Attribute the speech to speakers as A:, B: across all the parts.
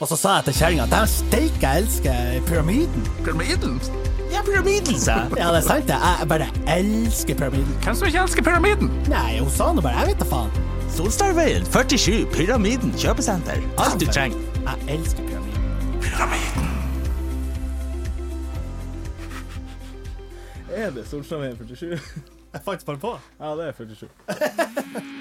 A: Og så sa jeg til kjerringa at steike, jeg elsker pyramiden.
B: Pyramiden?
A: Ja, pyramiden, sa jeg. Ja, det er sant, det. Jeg bare elsker pyramiden.
B: Hvem som ikke elsker pyramiden?
A: Nei, hun sa nå bare Jeg vet da faen.
C: Solstadveien 47, Pyramiden kjøpesenter. Alt du trenger.
A: Jeg elsker pyramiden.
D: Er det Solstadveien 47?
A: Jeg fant bare på.
D: Ja, det er 47.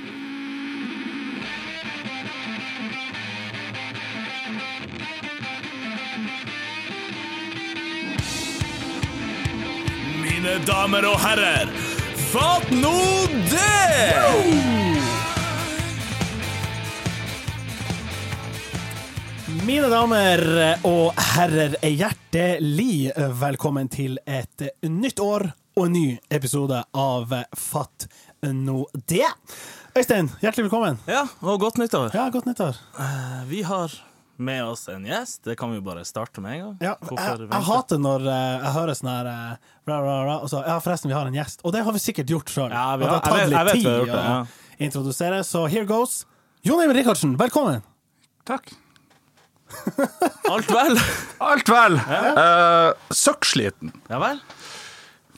E: Mine damer og herrer, fatt nå det!
A: Mine damer og herrer, hjertelig velkommen til et nytt år og en ny episode av Fatt nå det. Øystein, hjertelig velkommen.
C: Ja, og godt nyttår.
A: Ja, godt nyttår.
C: Vi har med oss en gjest. Det kan vi bare starte med en gang.
A: Ja,
C: Hvorfor
A: jeg,
C: vente?
A: jeg hater når eh, jeg hører sånn her eh, bla, bla, bla, og så, Ja, forresten, vi har en gjest. Og det har vi sikkert gjort sjøl.
C: Ja, vi har- jeg vet- jeg vet vi har gjort det, ja.
A: introdusere, så here goes. Jon Eivind Rikardsen, velkommen.
B: Takk.
C: Alt vel?
B: Alt vel. Eh, Søkksliten.
C: Ja vel?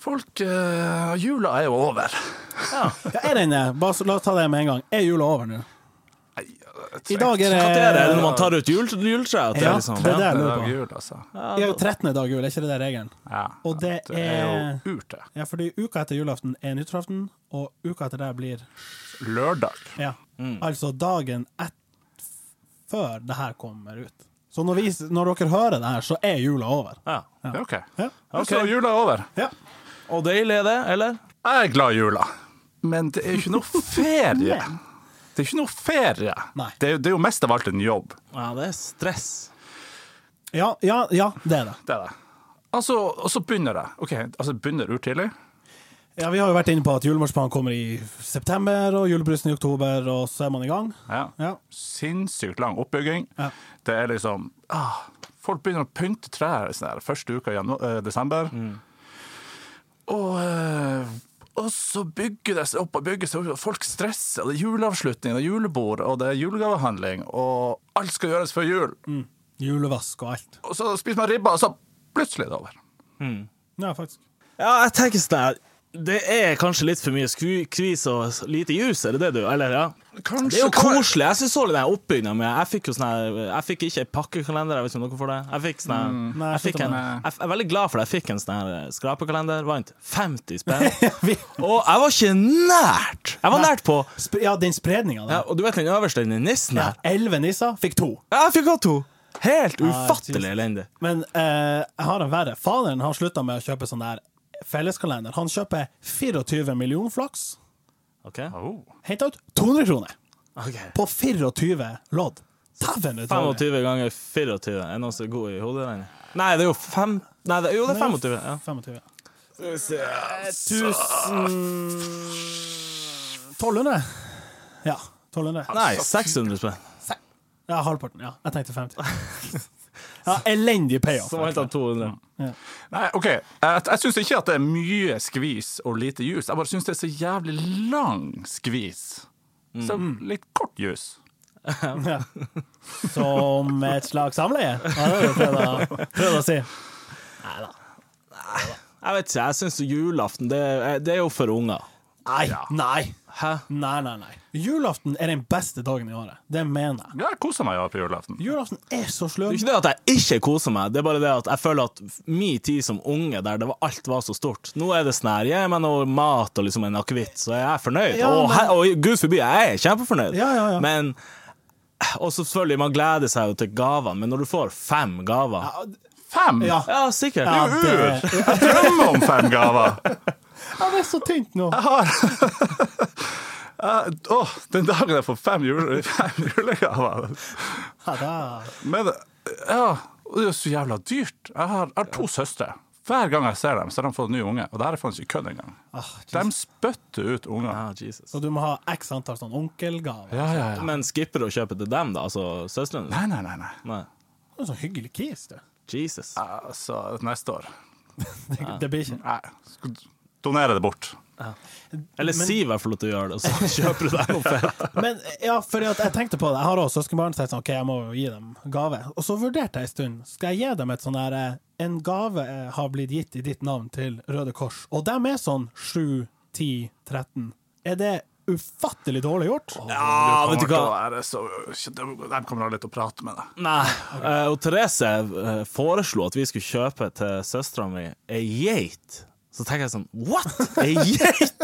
B: Folk eh, Jula er jo over.
A: Ja, er den, eh, bare, så- la oss ta det med en gang. Er jula over nå? I dag er det
C: Når er det når man tar ut jul, juletre? at det
A: Ja,
C: er liksom-
A: det er
C: Ja.
A: det jeg
B: Det
A: lurer
B: er
A: på.
B: jul, altså.
A: Det er jo 13. dag jul, er ikke det der regelen?
B: Ja.
A: Og det
B: Det er
A: er
B: jo urt, det.
A: Ja, fordi uka etter julaften er nyttårsaften, og uka etter der blir
B: Lørdag.
A: Ja.
C: Mm.
A: Altså dagen et før det her kommer ut. Så når, vi, når dere hører det her, så er jula over.
C: Ja.
B: Det er OK.
A: Ja.
B: Så jula er over.
A: Ja.
C: Og deilig er det, eller?
B: Jeg er glad i jula, men det er jo ikke noe ferie.
A: Men.
B: Det er ikke noe ferie.
A: Nei.
B: Det, er, jo- det er jo mest av alt en jobb.
C: Ja, det er stress.
A: Ja, ja, ja, det er det.
B: Det er det. Altså, og så begynner det. OK, altså begynner urtidlig.
A: Ja, Vi har jo vært inne på at julemarsipan kommer i september, og julebrusen i oktober, og så er man i gang.
B: Ja.
A: Ja.
B: Sinnssykt lang oppbygging.
A: Ja.
B: Det er liksom ah, Folk begynner å pynte trær sånn her, første uka i janu- eh, desember. Og, eh, og så bygger det seg opp og bygger seg opp. og Folk stresser. og Det er juleavslutning, det er julebord og det er julegavehandling. Og alt skal gjøres før jul.
A: Julevask og alt.
B: Og så spiser man ribba, og så plutselig er det over.
A: Ja, faktisk.
C: Ja, jeg tenker sånn her, Det er kanskje litt for mye skru, kvis og s- lite jus, er det det du Eller, ja?
B: Kanskje
C: Det er jo
B: kan-
C: koselig. Jeg syns også den oppbygninga med Jeg fikk jo sånn her Jeg fikk ikke en pakkekalender, jeg vet ikke om dere får det. Jeg fikk sånn her
A: Nei,
C: jeg, fikk
A: slutt
C: en,
B: med-
C: jeg f- jeg er veldig glad for det. Jeg fikk en sånn her skrapekalender. Vant 50 spenn.
A: Vi-
C: Og jeg var ikke nært! Jeg var nært på
A: Sp ja, den spredninga
C: ja,
A: der.
C: Og du vet den øverste, den nissen
A: Ja,
C: her?
A: Elleve nisser fikk to.
C: Ja, jeg fikk også to. Helt
A: Jesus.
C: ufattelig elendig.
A: Men eh, jeg har en verre. Faderen har slutta med å kjøpe sånn der felleskalender. Han kjøper 24 millioner flaks.
C: OK?
B: Oh.
A: Henta ut 200 kroner
C: Ok.
A: på 24 lodd. Dæven, det er dårlig.
C: 25 ganger 24. Er noen som er god i hoderegning? Nei, det er jo fem Nei, det, jo, det er 25. Ja.
A: 25.
C: Skal vi se.
A: 1200? Ja. 1200.
C: Nei, 600 spenn.
A: Ja, halvparten. Ja, jeg tenkte 50. Ja, elendig payoff.
C: Så henta han 200.
B: Nei, OK. Jeg, jeg syns ikke at det er mye skvis og lite juice. Jeg bare syns det er så jævlig lang skvis. Så litt kort juice.
A: Ja. Som et slags samleie. Ja, det har du prøvd å, prøvd å si.
C: Jeg vet ikke, jeg syns julaften det er, eh, det er jo for unger.
A: Nei, nei.
C: Hæ?
A: Nei, nei, nei. Julaften er den beste dagen i året. Det mener jeg.
B: Ja, jeg koser meg ja, på julaften.
A: Julaften er så sløv.
C: Det er ikke det at jeg ikke koser meg, det er bare det at jeg føler at min tid som unge, der det var, alt var så stort Nå er det sånn her, gi meg noe mat og liksom en akevitt, så jeg er fornøyd.
A: Ja,
C: og,
A: men-
C: her, og gud forby, jeg er kjempefornøyd.
A: Ja, ja, ja.
C: Men Og så selvfølgelig, man gleder seg jo til gavene, men når du får fem gaver Ja,
B: Fem!
A: Ja.
C: sikkert.
A: Ja,
C: Jo,
A: det,
B: Jeg drømmer om fem gaver! Jeg
A: ja, det er så tynt nå.
B: har Jeg- Åh, den dagen jeg får fem, jule, fem julegaver
A: Ja, da.
B: Men ja, og det er jo så jævla dyrt. Jeg har, jeg har to søstre. Hver gang jeg ser dem, så har de fått ny unge. Og det her er faen ikke kødd engang.
A: Ah,
B: De spytter ut unger.
C: Ah, Jesus.
A: Så du må ha x antall sånn onkelgaver.
B: Ja, ja, ja.
C: Men skipper du å kjøpe til dem, da? Altså søstrene?
B: Nei, nei, nei. nei.
C: Nei.
A: Det er en sånn hyggelig kis, du.
C: Jesus.
B: Altså, neste år
A: Det, det blir ikke
B: Nei, skal donere det bort.
C: Eller si i hvert fall at du gjør det, og så kjøper du deg noe fett.
A: Men ja, fordi at jeg tenkte på det. Jeg har også søskenbarn. Så jeg tenkte sånn, ok, jeg må jo gi dem gave. Og så vurderte jeg en stund. Skal jeg gi dem et sånn der eh, En gave eh, har blitt gitt i ditt navn til Røde Kors. Og dem er sånn 7, 10, 13. Er det ufattelig dårlig gjort?
C: Ja,
B: Du
C: vet du
B: kommer til
C: hva?
B: å være så- De kommer aldri til å prate med deg.
C: Nei. eh, Og Therese eh, foreslo at vi skulle kjøpe til søstera mi ei geit. Så tenker jeg sånn What?! Ei geit?!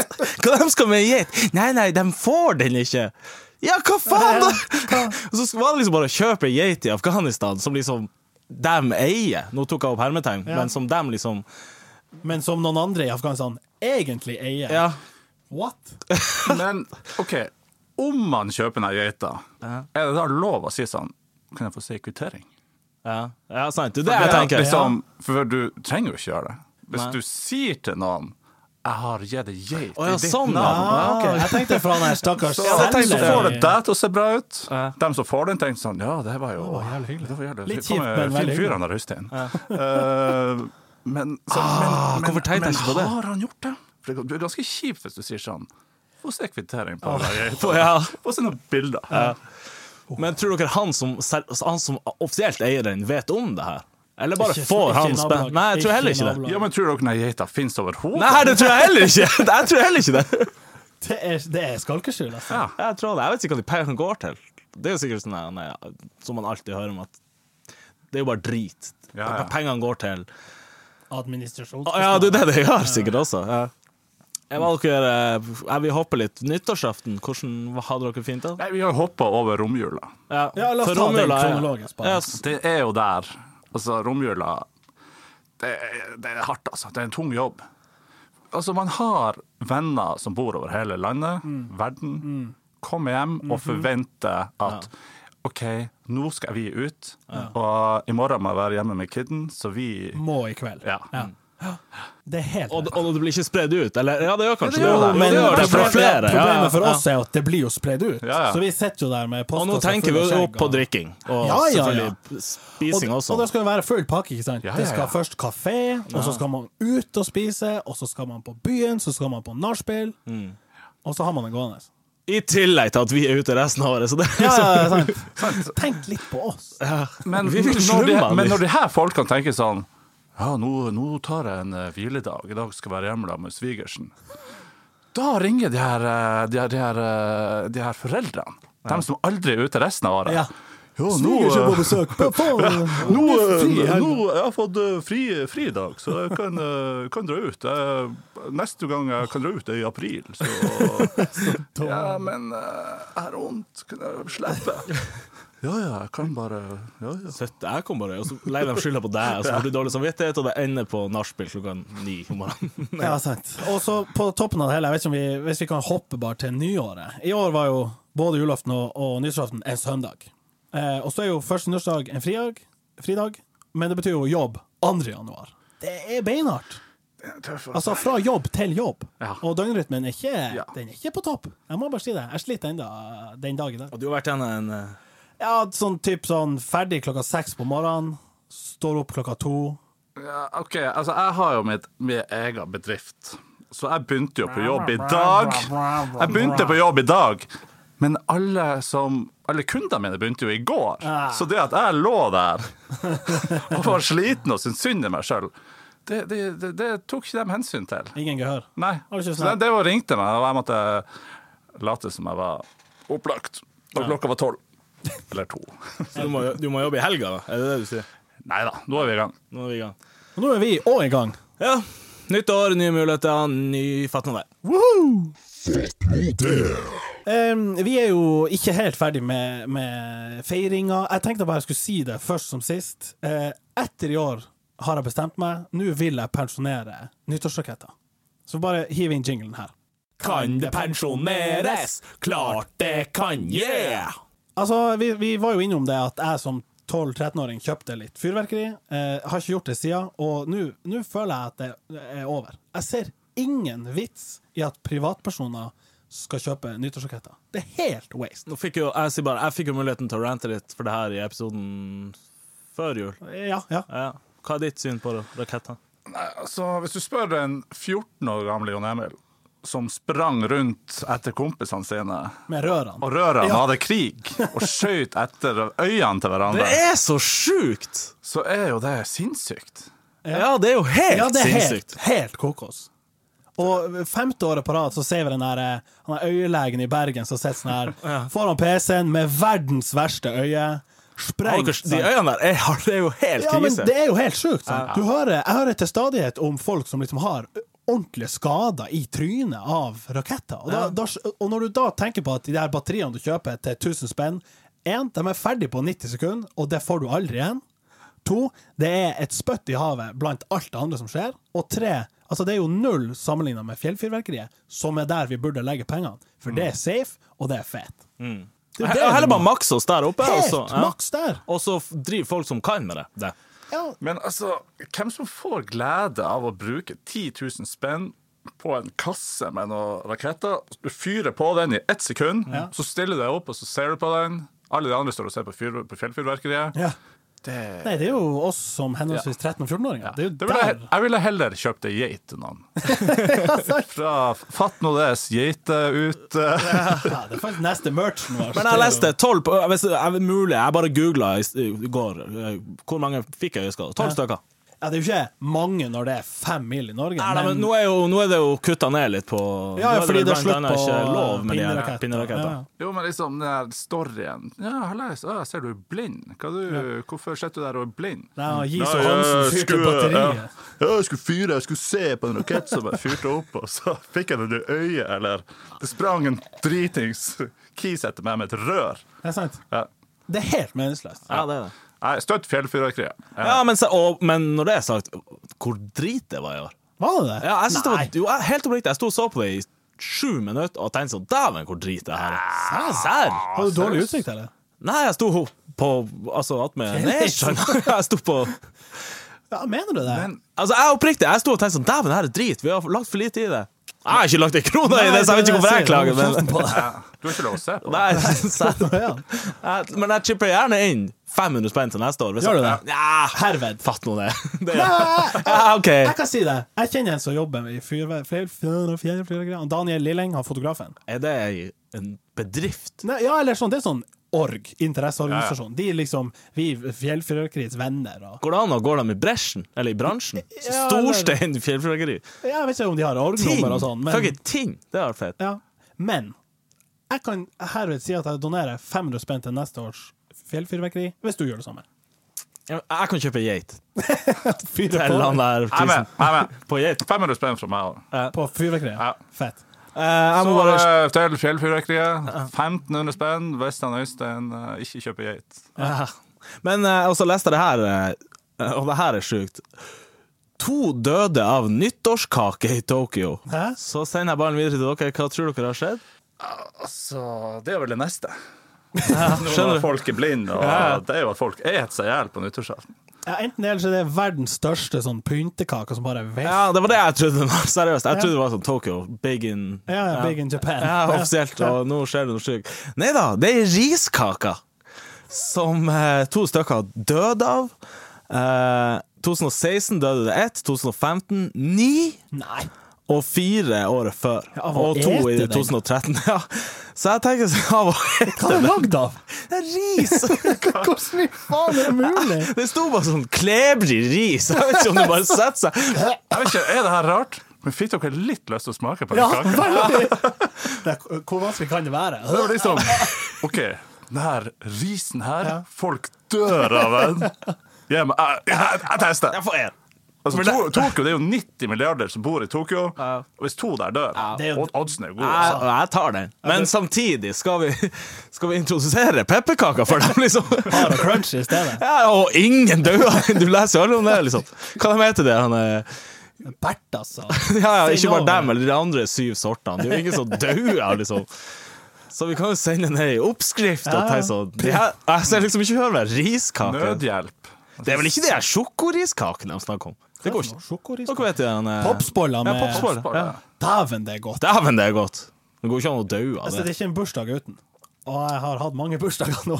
C: Hva de skal med ei geit? Nei, nei, de får den ikke! Ja, hva faen, da?! Og så var det liksom bare å kjøpe ei geit i Afghanistan, som liksom dem eier. Nå tok jeg opp hermetegn,
A: Ja.
C: men som dem liksom
A: Men som noen andre i Afghanistan egentlig eier.
C: Ja.
A: What?
B: Men OK, om man kjøper den geita, er det da lov å si sånn Kan jeg få se kvittering?
C: Ja, ja sant. Det er det jeg
B: Det er
C: tenker.
B: Liksom, for du trenger jo ikke gjøre det. Hvis
C: Nei.
B: du sier til noen 'Jeg har gitt deg geit'
C: Å ja,
B: i ditt
C: sånn, ja.
B: navn',
A: Ah, ok. Jeg tenkte fra den her stakkars
B: så er det de som
A: selger-
B: får det deg til å se bra ut.
C: Ja.
B: De som får den, tenker sånn 'Ja, det var jo
A: var jævlig hyggelig.
B: Det var jævlig.
A: Litt
B: Det kom
A: kjipt,
B: en
A: men
B: fin
A: veldig
B: fyr,
A: hyggelig.
B: han der Øystein. Eh, men så, men, men,
C: Ah, hvorfor tenkte jeg
B: men
C: ikke på det?
B: har han gjort det? For det er ganske kjipt hvis du sier sånn Få se kvittering på den
C: Å,
B: geita.
C: Ah. ja.
B: Få se noen bilder.
C: Oh. Men tror dere han som, sel- han som offisielt eier den, vet om det her? Eller bare
A: Ikke-
C: får
A: ikke
C: han
A: nabolag.
C: spenn? Nei, jeg tror heller ikke det.
A: nabolag.
B: Ja, men tror dere den geita fins overhodet?
C: Nei, det tror jeg heller ikke! Jeg tror heller ikke det.
A: Det er, det er skalkeskjul, altså.
B: Ja.
C: Jeg, tror det. jeg vet ikke hva de pengene går til. Det er jo sikkert sånn der, nei, som man alltid hører om, at det er jo bare drit.
B: Ja, ja.
C: Pengene går til
A: Administrasjon.
C: Å, Ja, det er det de gjør sikkert også. Ja. Jeg valgte å gjøre eh, Jeg vil hoppe litt. Nyttårsaften, hvordan hadde dere fint da?
B: Nei, vi har hoppa over romjula.
A: Ja, la oss
C: For
A: ta den
C: romjula, ja.
A: kronologisk bare.
C: Ja, s-
B: Det er jo der. Altså, romjula det, er- det er hardt, altså. Det er en tung jobb. Altså, man har venner som bor over hele landet, verden. Kommer hjem og forventer at OK, nå skal vi ut, og i morgen må jeg være hjemme med kidden, så vi
A: Må i kveld.
B: Ja.
A: Det er helt
C: Og, og det blir ikke spredd ut? Eller ja, det gjør kanskje det.
B: gjør det.
C: Jo,
A: Men
B: det gjør
C: det
B: det.
C: er fra flere. ja, ja,
A: problemet for
C: ja.
A: oss er jo at det blir jo spredd ut.
B: Ja, ja.
A: Så vi sitter jo der med
C: Og
A: postkasser
C: nå tenker vi
A: fulle av
C: jo
A: skjegg
C: på
A: og-
C: drikking, og
A: Ja, ja, ja.
C: selvfølgelig spising
A: og,
C: også.
A: Og det skal jo være full pakke, ikke sant?
B: Ja, ja,
A: Det skal
B: ja.
A: først kafé, og så skal man ut og spise, og så skal man på byen, så skal man på nachspiel,
C: Mm.
A: og så har man det gående.
C: I tillegg til at vi er ute resten av året, så det er
A: Ja,
C: liksom
A: ja, sant. Tenk litt på oss.
B: Men,
C: Vi vil
B: når de,
C: slumre han
B: men
C: litt.
B: når de her folkene tenker sånn Ja, nå, nå tar jeg en eh, hviledag. I dag skal jeg være hjemme da med svigersen. Da ringer de her, eh, de her, de her, eh, de her foreldrene. De som aldri er ute resten av året.
A: Ja.
B: Jo, nå, eh,
A: besøk. På, på,
B: nå, eh,
A: fri i helgen.
B: nå jeg har jeg fått eh, fri, fri i dag, så jeg kan, eh, kan dra ut. Jeg, neste gang jeg kan dra ut, er i april. Så Ja, men eh, jeg har vondt. Kan jeg slippe? Ja ja, jeg kan bare Ja ja.
C: Søtt, jeg kom bare, og så legger de skylda på deg, og så får du dårlig samvittighet, og det ender på nachspiel klokka ni om morgenen.
A: Ja, sant. Og så på toppen av det hele, jeg vet ikke om vi, hvis vi kan hoppe bare til nyåret. I år var jo både julaften og, og nyttårsaften en søndag. Eh, og så er jo første nyttårsdag en fridag, fridag, men det betyr jo jobb 2. januar. Det er beinhardt. Altså fra jobb til jobb.
B: Ja.
A: Og døgnrytmen er ikke,
B: Ja.
A: den er ikke på topp. Jeg må bare si det. Jeg sliter ennå den dag i dag.
C: Og du har vært igjen en eh,
A: Ja, sånn typ sånn ferdig klokka seks på morgenen, står opp klokka to.
B: Ja, OK, altså jeg har jo mitt, min egen bedrift, så jeg begynte jo på jobb i dag. Jeg begynte på jobb i dag, men alle, som, alle kundene mine begynte jo i går.
A: Ah.
B: Så det at jeg lå der og var sliten og syntes synd i meg sjøl, det, det, det, det tok ikke de hensyn til.
A: Ingen gehør.
B: Nei.
A: Har du ikke
B: Så
A: snakket?
B: de drev og ringte meg, og jeg måtte late som jeg var opplagt. Og klokka var tolv. Eller to.
C: Så du må, jo- du må jobbe i helga, da? Er det det du sier?
B: Nei da, nå er vi i gang.
C: Nå er vi i gang.
A: Og nå er vi òg i gang.
C: Ja. Nytt år, nye muligheter, ny fattende vei.
A: Em, vi er jo ikke helt ferdig med, med feiringa. Jeg tenkte bare jeg skulle si det først som sist. Eh, etter i år har jeg bestemt meg. Nå vil jeg pensjonere nyttårsraketter. Så bare hiv inn jinglen her.
E: Kan det pensjoneres? Klart det kan, yeah!
A: Altså, vi, vi var jo innom det at jeg som 12-13-åring kjøpte litt fyrverkeri. Eh, har ikke gjort det siden, og nå nå føler jeg at det er over. Jeg ser ingen vits i at privatpersoner skal kjøpe nyttårsraketter. Det er helt waste.
C: Nå fikk jo, jeg, sier bare, jeg fikk jo muligheten til å rante litt for det her i episoden før jul.
A: Ja, ja.
C: Ja. Hva er ditt syn på raketter?
B: Nei, altså, hvis du spør en 14 år gammel Jon Emil, som sprang rundt etter kompisene sine.
A: med rørene.
B: Og rørene
A: Ja.
B: hadde krig og skjøt etter øynene til
C: Det
B: hverandre.
C: er så sjukt!
B: Så er jo det sinnssykt.
C: Ja, det er jo helt
A: Ja, det er helt,
C: sinnssykt.
A: helt kokos. Og femte året på rad så ser vi den der, eh, han er øyelegen i Bergen som sitter sånn her foran PC-en med verdens verste øye. Sprengt. sånn-
C: Dere- De
A: sant?
C: øynene der er, det er jo helt
A: Ja, men
C: krise.
A: det er jo helt sjukt. Sant? Du hører, jeg hører til stadighet om folk som liksom har ordentlige skader i trynet av raketter. Og, da, da, og når du da tenker på at de der batteriene du kjøper til 1000 spenn, én, de er ferdig på 90 sekunder, og det får du aldri igjen. To, det er et spytt i havet blant alt det andre som skjer. Og tre, altså det er jo null sammenligna med fjellfyrverkeriet, som er der vi burde legge pengene.
C: Mm.
A: For det er safe, og det er fett. Det er
C: He-
A: det vi
C: Heller
A: må-
C: bare maks oss der oppe, og så,
A: Helt
C: ja.
A: maks der!
C: og så f- driver folk som kan med det. det.
A: Ja,
B: Men altså, hvem som får glede av å bruke 10 000 spenn på en kasse med noen raketter? Du fyrer på den i ett sekund, så stiller du deg opp og så ser du på den. Alle de andre står og ser på, fyr, på fjellfyrverkeriet.
A: ja.
B: Det,
A: Nei, det er jo oss som henholdsvis 13- og 14-åringer. Det er jo
B: det ville jeg,
A: der.
B: jeg ville heller kjøpt ei geit til noen. Fra Fatt nå des, geite ut eh.
A: Ja, det er faktisk neste merchen vår.
C: Men jeg leste tolv på hvis det er mulig, jeg bare googla i s- i går eh, hvor mange fikk øyeskader. Tolv stykker.
A: Ja, det er jo ikke mange når det er fem mil i Norge,
C: Nei, men nå er, jo, nå er det jo kutta ned litt på
A: Ja, ja,
C: nå
A: fordi
C: vel
A: det er
C: blant
A: slutt
C: annet
A: på
C: ikke lov med de her
A: pinneraketter.
C: pinneraketter.
A: Ja, ja.
B: Jo, men liksom den der storyen Ja, jeg har lest, å, jeg ser du er blind. Hva du, Hvorfor sitter du der og er blind?
A: Nei, og Gis og Hansen fyrte batteriet.
B: jeg skulle fyre, jeg skulle se på en rakett som jeg fyrte opp, og så fikk jeg den i øyet, eller Det sprang en dritings kis etter meg med et rør.
A: Det er sant.
B: Ja.
A: Det er helt meningsløst.
C: Ja, det er det.
B: Nei, støtt fjellfyrverkeriet. Ja.
C: Ja, men, se- og, men når det er sagt, hvor drit det var i år.
A: Var det det?
C: Ja, jeg synes det var,
A: Nei.
C: jo, jeg, helt oppriktig, jeg sto og så på det i sju minutter og tenkte sånn Dæven, hvor drit det her er. Serr?
A: Har du dårlig utsikt, eller?
C: Nei, jeg sto på Altså, attmed Nesjøen. Jeg sto på
A: Ja, mener du det?
B: Men
C: Altså, jeg er oppriktig, jeg sto og tenkte sånn Dæven, det her er drit. Vi har lagt for lite i det. Jeg har ikke lagt en krone i det, så jeg vet ikke hvorfor jeg klager. Men,
B: ja, du har ikke lov å se på.
C: nei, serr.
A: men
C: Jeg- men jeg chipper gjerne inn 500 spenn til neste år. hvis
A: Gjør du
C: jeg-
A: det?
C: Ja,
A: Herved.
C: fatt nå det. det
A: Jeg
C: ja, OK.
A: kan si det. Jeg kjenner en som jobber i Fjellfyrverkeriet. Daniel Lilleng, han fotografen.
C: Er det ei- en bedrift?
A: Nei, ja, eller sånn, det er sånn org, interesseorganisasjon. De er liksom vi fjellfyrverkeriets venner. Og,
C: Går det an å gå dem i bresjen? Eller i bransjen?
A: Ja,
C: Storstein fjellfyrverkeri.
A: jeg vet ikke om de har
C: Ting!
A: orgnummer og sånn, men,
C: Fucking ting! Det er fett.
A: ja. men jeg kan herved si at jeg donerer 500 spenn til neste års fjellfyrverkeri, hvis du gjør det samme.
C: Jeg jeg kan kjøpe geit.
A: Fyr det
C: Til han
A: på,
C: der
B: Nei, men,
C: kisen.
B: nei, men.
C: På geit.
B: 500 spenn fra meg òg.
A: på fyrverkeriet.
B: Ja.
A: Fett.
C: jeg må
B: Så
C: bare
B: eh, til fjellfyrverkeriet. 1500 spenn hvis han Øystein eh, ikke kjøper geit.
C: Ja. Men eh, også leste jeg det her, eh, og det her er sjukt. To døde av nyttårskake i Tokyo.
A: Hæ?
C: Så sender jeg ballen videre til dere. Hva tror dere har skjedd?
B: Altså, det er vel det neste.
C: skjønner
B: Når folk er blinde, og det er jo at folk eter seg i hjel på nyttårsaften.
A: Ja, enten det eller så er det verdens største sånn pyntekake som bare vifter.
C: Ja, det var det jeg trodde. Seriøst. Jeg trodde det var sånn Tokyo. Big in
A: Ja, Big in Japan.
C: Ja, offisielt. Og nå skjer det noe sjukt. Nei da, det er riskaker som eh, to stykker døde av. Eh, 2016 døde det ett, 2015 ni.
A: Nei.
C: Og fire året før.
A: Ja, av å
C: og to i
A: ete den.
C: 2013. Ja. Så jeg tenker sånn av å
A: Hva er det lagd av?
C: Det er ris!
A: Hvordan i faen er det mulig?
C: Det sto bare sånn klebrig ris. Jeg vet ikke om det bare setter seg.
B: Jeg vet ikke, Er det her rart? Men fikk dere litt lyst til å smake på den
A: Ja,
B: kaka?
A: veldig. Det er- Hvor vanskelig kan det
B: Det
A: være?
B: var liksom OK, den her risen her Folk dør av den. Jeg, må- jeg, jeg, jeg tester.
C: Jeg får en.
B: Altså, to, Tokyo, det er jo 90 milliarder som bor i Tokyo.
C: Ja.
B: Og hvis to der dør,
A: Det er jo-
B: og oddsen er jo gode.
C: Jeg,
B: altså.
C: jeg tar den. Men samtidig, skal vi, skal vi introdusere pepperkaker for dem, liksom?
A: Bare crunchy i stedet.
C: Ja, og ingen døde! Du leser jo aldri om det, liksom. Hva de heter det? Han er,
A: Bert, altså.
C: ja, ja, ikke bare
A: Sinova.
C: dem, eller de andre syv sortene. Det er jo ingen som dør, liksom. Så vi kan jo sende ned ei oppskrift og tenke sånn det her- Jeg ser liksom ikke høre meg. Riskake.
B: Nødhjelp.
C: Det er vel ikke de her sjokoriskakene de snakker om? Det går ikke.
A: Sjokoris.
C: Dere vet jo den eh,
A: Popsboller
C: Ja,
A: med
C: popsboller. Ja.
A: Dæven, det er godt.
C: Dæven, det er godt. Det går ikke an å dø av
A: Altså, det
C: det.
A: er ikke en bursdag uten. Og jeg har hatt mange bursdager nå.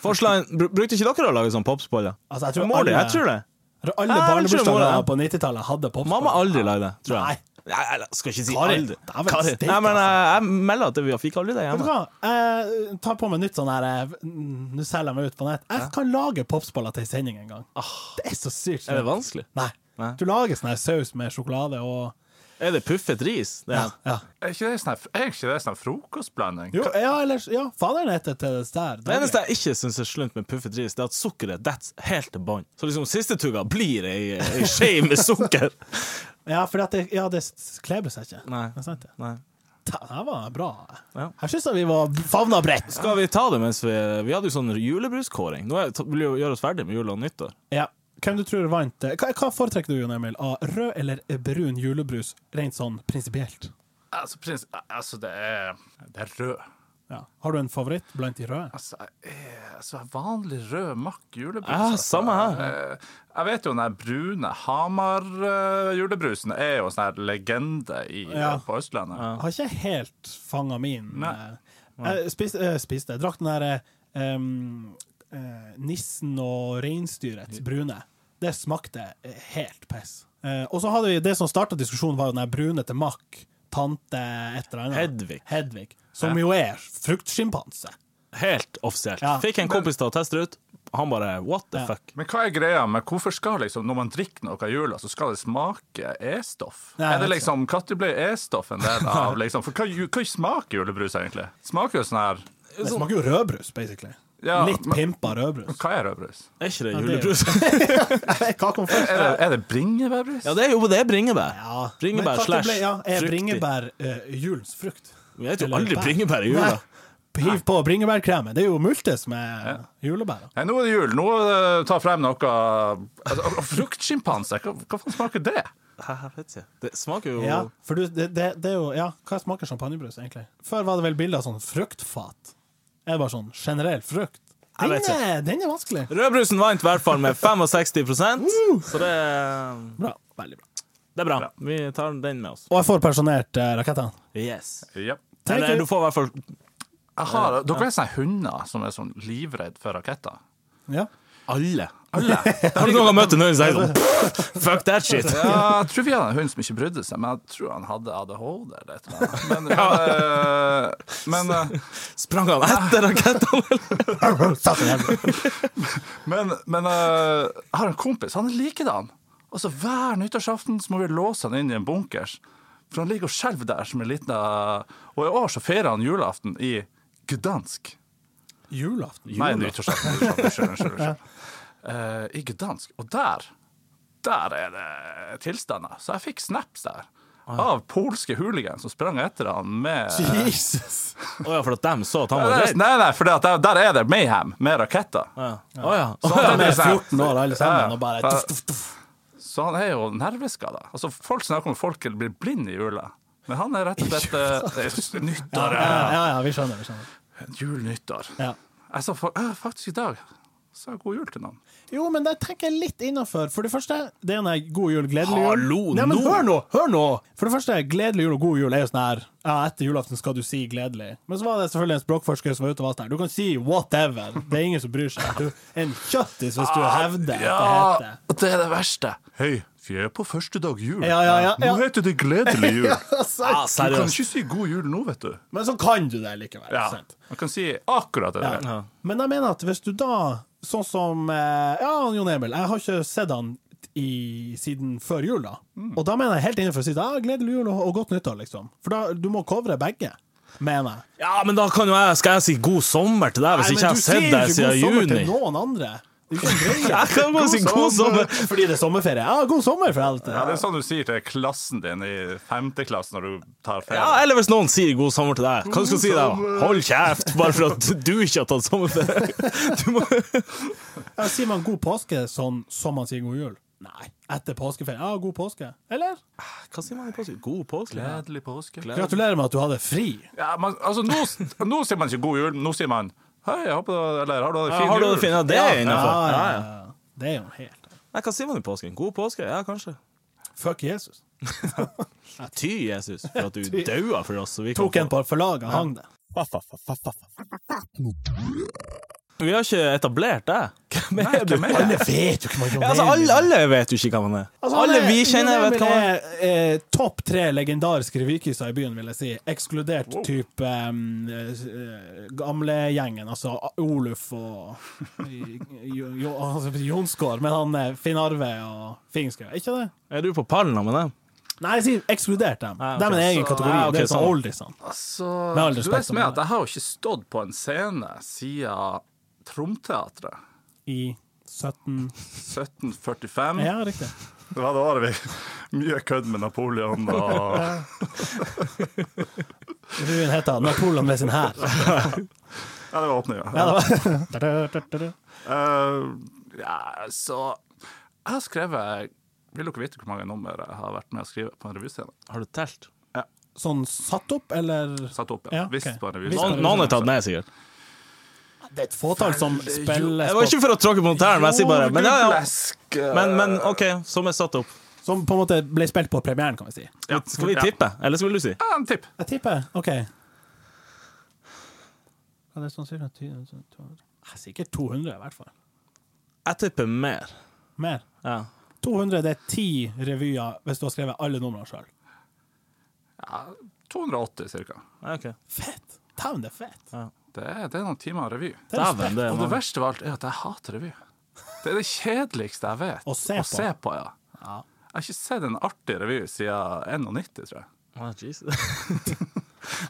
C: Forslag, br brukte ikke dere å lage sånn popsboller?
A: Altså, jeg tror
C: Mor di?
A: alle-
C: Jeg tror det.
A: Alle
C: Nei, jeg tror mora
A: barnebursdager
C: er-
A: på 90-tallet hadde popsboller.
C: Mamma aldri lagde det, tror
A: Nei,
C: jeg. Nei, eller, skal ikke si
A: Kari.
C: aldri.
A: Dæven
C: Kari.
A: steik,
C: Nei, men
A: altså.
C: eh, jeg melder at vi fikk aldri det
A: Vet du
C: hjemme.
A: hva? Jeg tar på meg nytt sånn her eh, mm, Nå selger jeg meg ut på nett. Jeg kan lage popsballer til en sending en gang. Det er så sykt.
C: Ah. Er
A: snilt.
C: det vanskelig?
A: Nei.
C: Nei.
A: Du lager sånn her saus med sjokolade og
C: Er det puffet ris? Det
A: Ja.
C: er.
A: ja.
B: Er ikke det sånn her- er ikke det sånn her frokostblanding?
A: Jo, ja eller Ja, faderen heter til det der.
C: Det eneste jeg ikke syns er slunt med puffet ris, Det er at sukkeret detter helt til bånn. Så liksom siste tugga blir ei, ei skje med sukker.
A: Ja, for at det, ja, det s- kleber seg ikke.
C: Nei.
A: Det er sant, det.
C: Nei.
A: Det her var bra.
C: Ja.
A: Her syns jeg vi var favna bredt.
C: Skal vi ta det mens vi Vi hadde jo sånn julebruskåring. Nå er, vil vi jo gjøre oss ferdig med jul og nyttår.
A: Ja. Hvem du tror vant eh, Hva, hva foretrekker du, Jon Emil? Av rød eller brun julebrus, rent sånn prinsipielt?
B: Altså, prins, altså det, er, det er rød.
A: Ja. Har du en favoritt blant de røde?
B: Altså, jeg er- altså vanlig rød makk julebrus.
A: Ah,
C: Ja,
B: altså.
C: samme her.
B: Eh, Jeg vet jo den der brune Hamar-julebrusen er jo en sånn her legende i,
A: Ja.
B: på Østlandet.
A: Jeg har ikke helt fanga min.
B: Nei.
A: eh, Jeg spiste, jeg spiste. Jeg drakk den der eh, um, eh, nissen og reinsdyrets brune. Det smakte eh, helt piss. Eh, og så hadde vi det som starta diskusjonen, var jo den der brune til Mack, tante et eller annet.
C: Hedvig.
A: Hedvig. Som jo er fruktsjimpanse.
C: Helt offisielt.
A: Ja.
C: Fikk en kompis til å teste det ut. Han bare what the
A: Ja.
C: fuck.
B: Men hva er greia med hvorfor skal liksom, når man drikker noe av jula, så skal det smake E-stoff?
A: Nei,
B: Er det
A: jeg vet
B: liksom Når ble E-stoff en del av liksom For hva, ju- hva smaker julebrus egentlig? Smaker jo sånn her
A: Det smaker jo rødbrus, basically.
B: Ja,
A: Litt
B: men-
A: pimpa rødbrus.
B: Hva er rødbrus?
C: Er ikke det
A: Ja, det er jo-
C: julebrus?
A: Hva kom først?
B: Er det, er det bringebærbrus?
C: Ja, det er jo det er bringebær.
A: Ja, men
C: Bringebær
A: hva
C: slash
A: ble- ja, Er
C: fruktig.
A: bringebær eh, julens frukt?
C: Vi heter jo
A: Eller
C: aldri
A: bær.
C: bringebær i jula.
A: Nei. Hiv på bringebærkremen. Det er jo multes med julebær.
B: Nei, nå er det jul. Nå eh, ta frem noe altså, Fruktsjimpanse? Hva, hva faen smaker det?
C: Hæ, jeg vet ikke. Det smaker jo
A: Ja, for du, det, det, det er jo Ja, hva smaker champagnebrus, egentlig? Før var det vel bilde av sånn fruktfat. Er det bare sånn generell frukt?
C: Jeg
A: Den
C: vet ikke.
A: er, den er vanskelig.
C: Rødbrusen vant i hvert fall med 65 så det,
A: Bra. Veldig bra.
C: det er bra. Vi tar den med oss.
A: Og jeg får pensjonert eh, rakettene.
C: Yes.
B: Ja.
A: Thank
C: Eller
A: you.
C: du får i hvert fall
B: Jeg har, dere er sånne hunder som er sånn livredd for raketter.
A: Ja.
C: alle.
B: Alle.
C: Har du noen gang møtt en hund som er sånn Fuck that shit.
B: Ja, jeg tror vi hadde en hund som ikke brydde seg, men jeg tror han hadde ADHD eller et eller annet. Men, eh, men, eh,
C: Sprang han etter rakettene? eller?
A: Satt i helvete.
B: men, men eh, jeg har en kompis, han er likedan. Og så hver nyttårsaften så må vi låse han inn i en bunkers. For han ligger og skjelver der som en liten eh, Og i år så feirer han julaften i Gdansk.
A: Julaften.
B: Nei, nyttårsaften. nyttårsaften, Unnskyld. unnskyld, unnskyld. Eh, I Gdansk. Og der der er det tilstander. Så jeg fikk snaps der.
A: Ah.
B: Av polske hooligans som sprang etter han med
A: Jesus.
C: Å ja, for at dem så at han var
B: Nei,
C: redd?
B: nei, nei for det at der, der er det mayhem med raketter.
C: Å ja. Å ja.
B: Så
A: De
B: han,
A: Ah. er
B: er sånn-
A: 14 år alle sammen og bare
B: Ja.
A: tuff, tuff, tuff.
B: så han er jo nerveskada. Altså, folk snakker om folk blir blinde i jula. Men han er rett og slett eh, det er
A: Ja,
B: nyttår.
A: ja, ja, vi skjønner. Vi skjønner.
B: Jul, nyttår.
A: Ja.
B: Jeg sa fa- eh, faktisk i dag sa jeg god jul til noen.
A: Jo, men det tenker jeg litt innafor. For det første, det er en her god jul, gledelig jul.
C: Hallo,
A: Nei, men
C: nå!
A: hør nå! Hør nå! For det første, gledelig jul og god jul er jo sånn her Ja, etter julaften skal du si gledelig. Men så var det selvfølgelig en språkforsker som var ute og var sånn her Du kan si whatever. Det er ingen som bryr seg. Du er en kjøttis hvis du
C: Ah,
A: hevder at det heter
B: og det er det verste. Ah, Hei, vi er på første dag jul.
A: Ja, ja, ja, ja.
B: Nå heter det gledelig jul.
C: Ah,
B: Du kan
C: seriøst.
B: ikke si god jul nå, vet du.
A: Men så kan du det likevel.
B: Ja,
A: Sant?
B: Man kan si akkurat det der.
C: Ja.
A: Men jeg mener at hvis du da, sånn som eh, Ja, han Jon Emil, jeg har ikke sett han i, siden før jul, da.
C: Mm.
A: Og da mener jeg helt innenfor å si ja, gledelig jul og, og godt nyttår, liksom. For da, du må covre begge, mener jeg.
C: ja, men da kan jo jeg Skal jeg si god sommer til deg hvis Altså, ikke jeg har sett deg siden juni?
A: til noen andre. Det er ikke en greie.
C: Jeg kan bare si god sommer!
A: Fordi det er sommerferie. Ja, god sommer, for helvete.
B: Ja, det er sånn du sier til klassen din i femte klasse når du tar ferie.
C: Ja, eller hvis noen sier god sommer til deg, hva skal du si da? Hold kjeft, bare for at du ikke har tatt sommerferie. Du må
A: Ja, sier man god påske sånn som man sier god jul? Nei. Etter påskeferie. Ja, god påske. Eller?
C: Hva sier man i påske? God påske?
B: Gledelig påske.
A: Gratulerer med at du hadde fri.
B: Ja, man, altså, nå, nå sier man ikke god jul, nå sier man Hei, jeg håper du, eller har du hatt en
C: Ja,
B: fin
C: har du
B: jul?
C: det fint? Ja, Det er
A: Ja,
C: innafor.
A: ja, ja. Det er jo helt
C: Nei, hva sier man i påsken? God påske? Ja, kanskje.
A: Fuck Jesus.
C: Ty Jesus, for at du daua for oss. Så vi kan
A: Tok en på forlaget, hang det.
C: Vi har ikke etablert det. Hvem er du?
B: hvem er det?
A: vet jo ikke hva John
C: Ja, altså, alle,
A: Mayall er.
C: alle vet jo ikke hvem han er.
A: Altså,
C: alle
A: han er-
C: vi kjenner,
A: John
C: vet hvem han er.
A: Mayall er, eh, Topp tre legendariske revykiser i byen, vil jeg si. Ekskludert type um, eh, gamlegjengen, altså A- Oluf og jo, jo, altså, Jonsgård, men han eh, Finn Arve og Fingskau, ikke det?
C: Er du på pallen med det?
A: Nei, jeg sier ekskludert dem.
C: Ah, ok.
A: De er en egen
B: Så-
A: kategori.
C: ah, ok,
A: det er sånn
C: sånn.
A: oldisene.
B: Altså,
A: Med all
B: du
A: respekt
B: vet
A: om
B: med
A: det.
B: at jeg har jo ikke stått på en scene siden Tromteatret.
A: I 17
B: 1745.
A: Ja, riktig.
B: Det var det året vi mye kødd med Napoleon og
A: Ruen heter Napoleon med sin hær.
B: Ja, det var åpninga.
A: Ja, det
B: Ja.
A: var-
B: Eh, ja, så Jeg har skrevet Vil dere vite hvor mange nummer jeg har vært med å skrive på en revyscene?
C: Har du telt?
A: Sånn satt opp, eller
B: Satt opp,
A: Ja,
B: ja.
A: ok.
B: Visst på en revyscene.
C: Noen, noen er tatt ned, sikkert.
A: Det er et fåtall som spiller
C: Det var ikke for å tråkke på tærne, men jeg sier bare men, ja, ja.
B: Jordblæsk, eh,
C: men, men OK, som er satt opp.
A: Som på en måte ble spilt på premieren, kan vi si.
B: ja.
C: Skal vi tippe, eller skal vi si?
B: Ja, en tipp.
A: Jeg tipper. OK. Sikkert 200, i hvert fall.
C: Jeg tipper mer.
A: Mer.
C: Ja.
A: 200 det er ti revyer hvis du har skrevet alle numrene sjøl.
B: Ja, 280 cirka.
C: Ja, OK.
A: Fett! Dæven, det er fett.
B: Det er, det er noen timer revy.
A: Det er
C: Dæven, det er
B: Og det
C: mange.
B: verste av alt er at jeg hater revy. Det er det kjedeligste jeg vet.
A: Å se på.
B: ja. Jeg har ikke sett en artig revy siden 91, tror jeg.
C: Ah, jeez.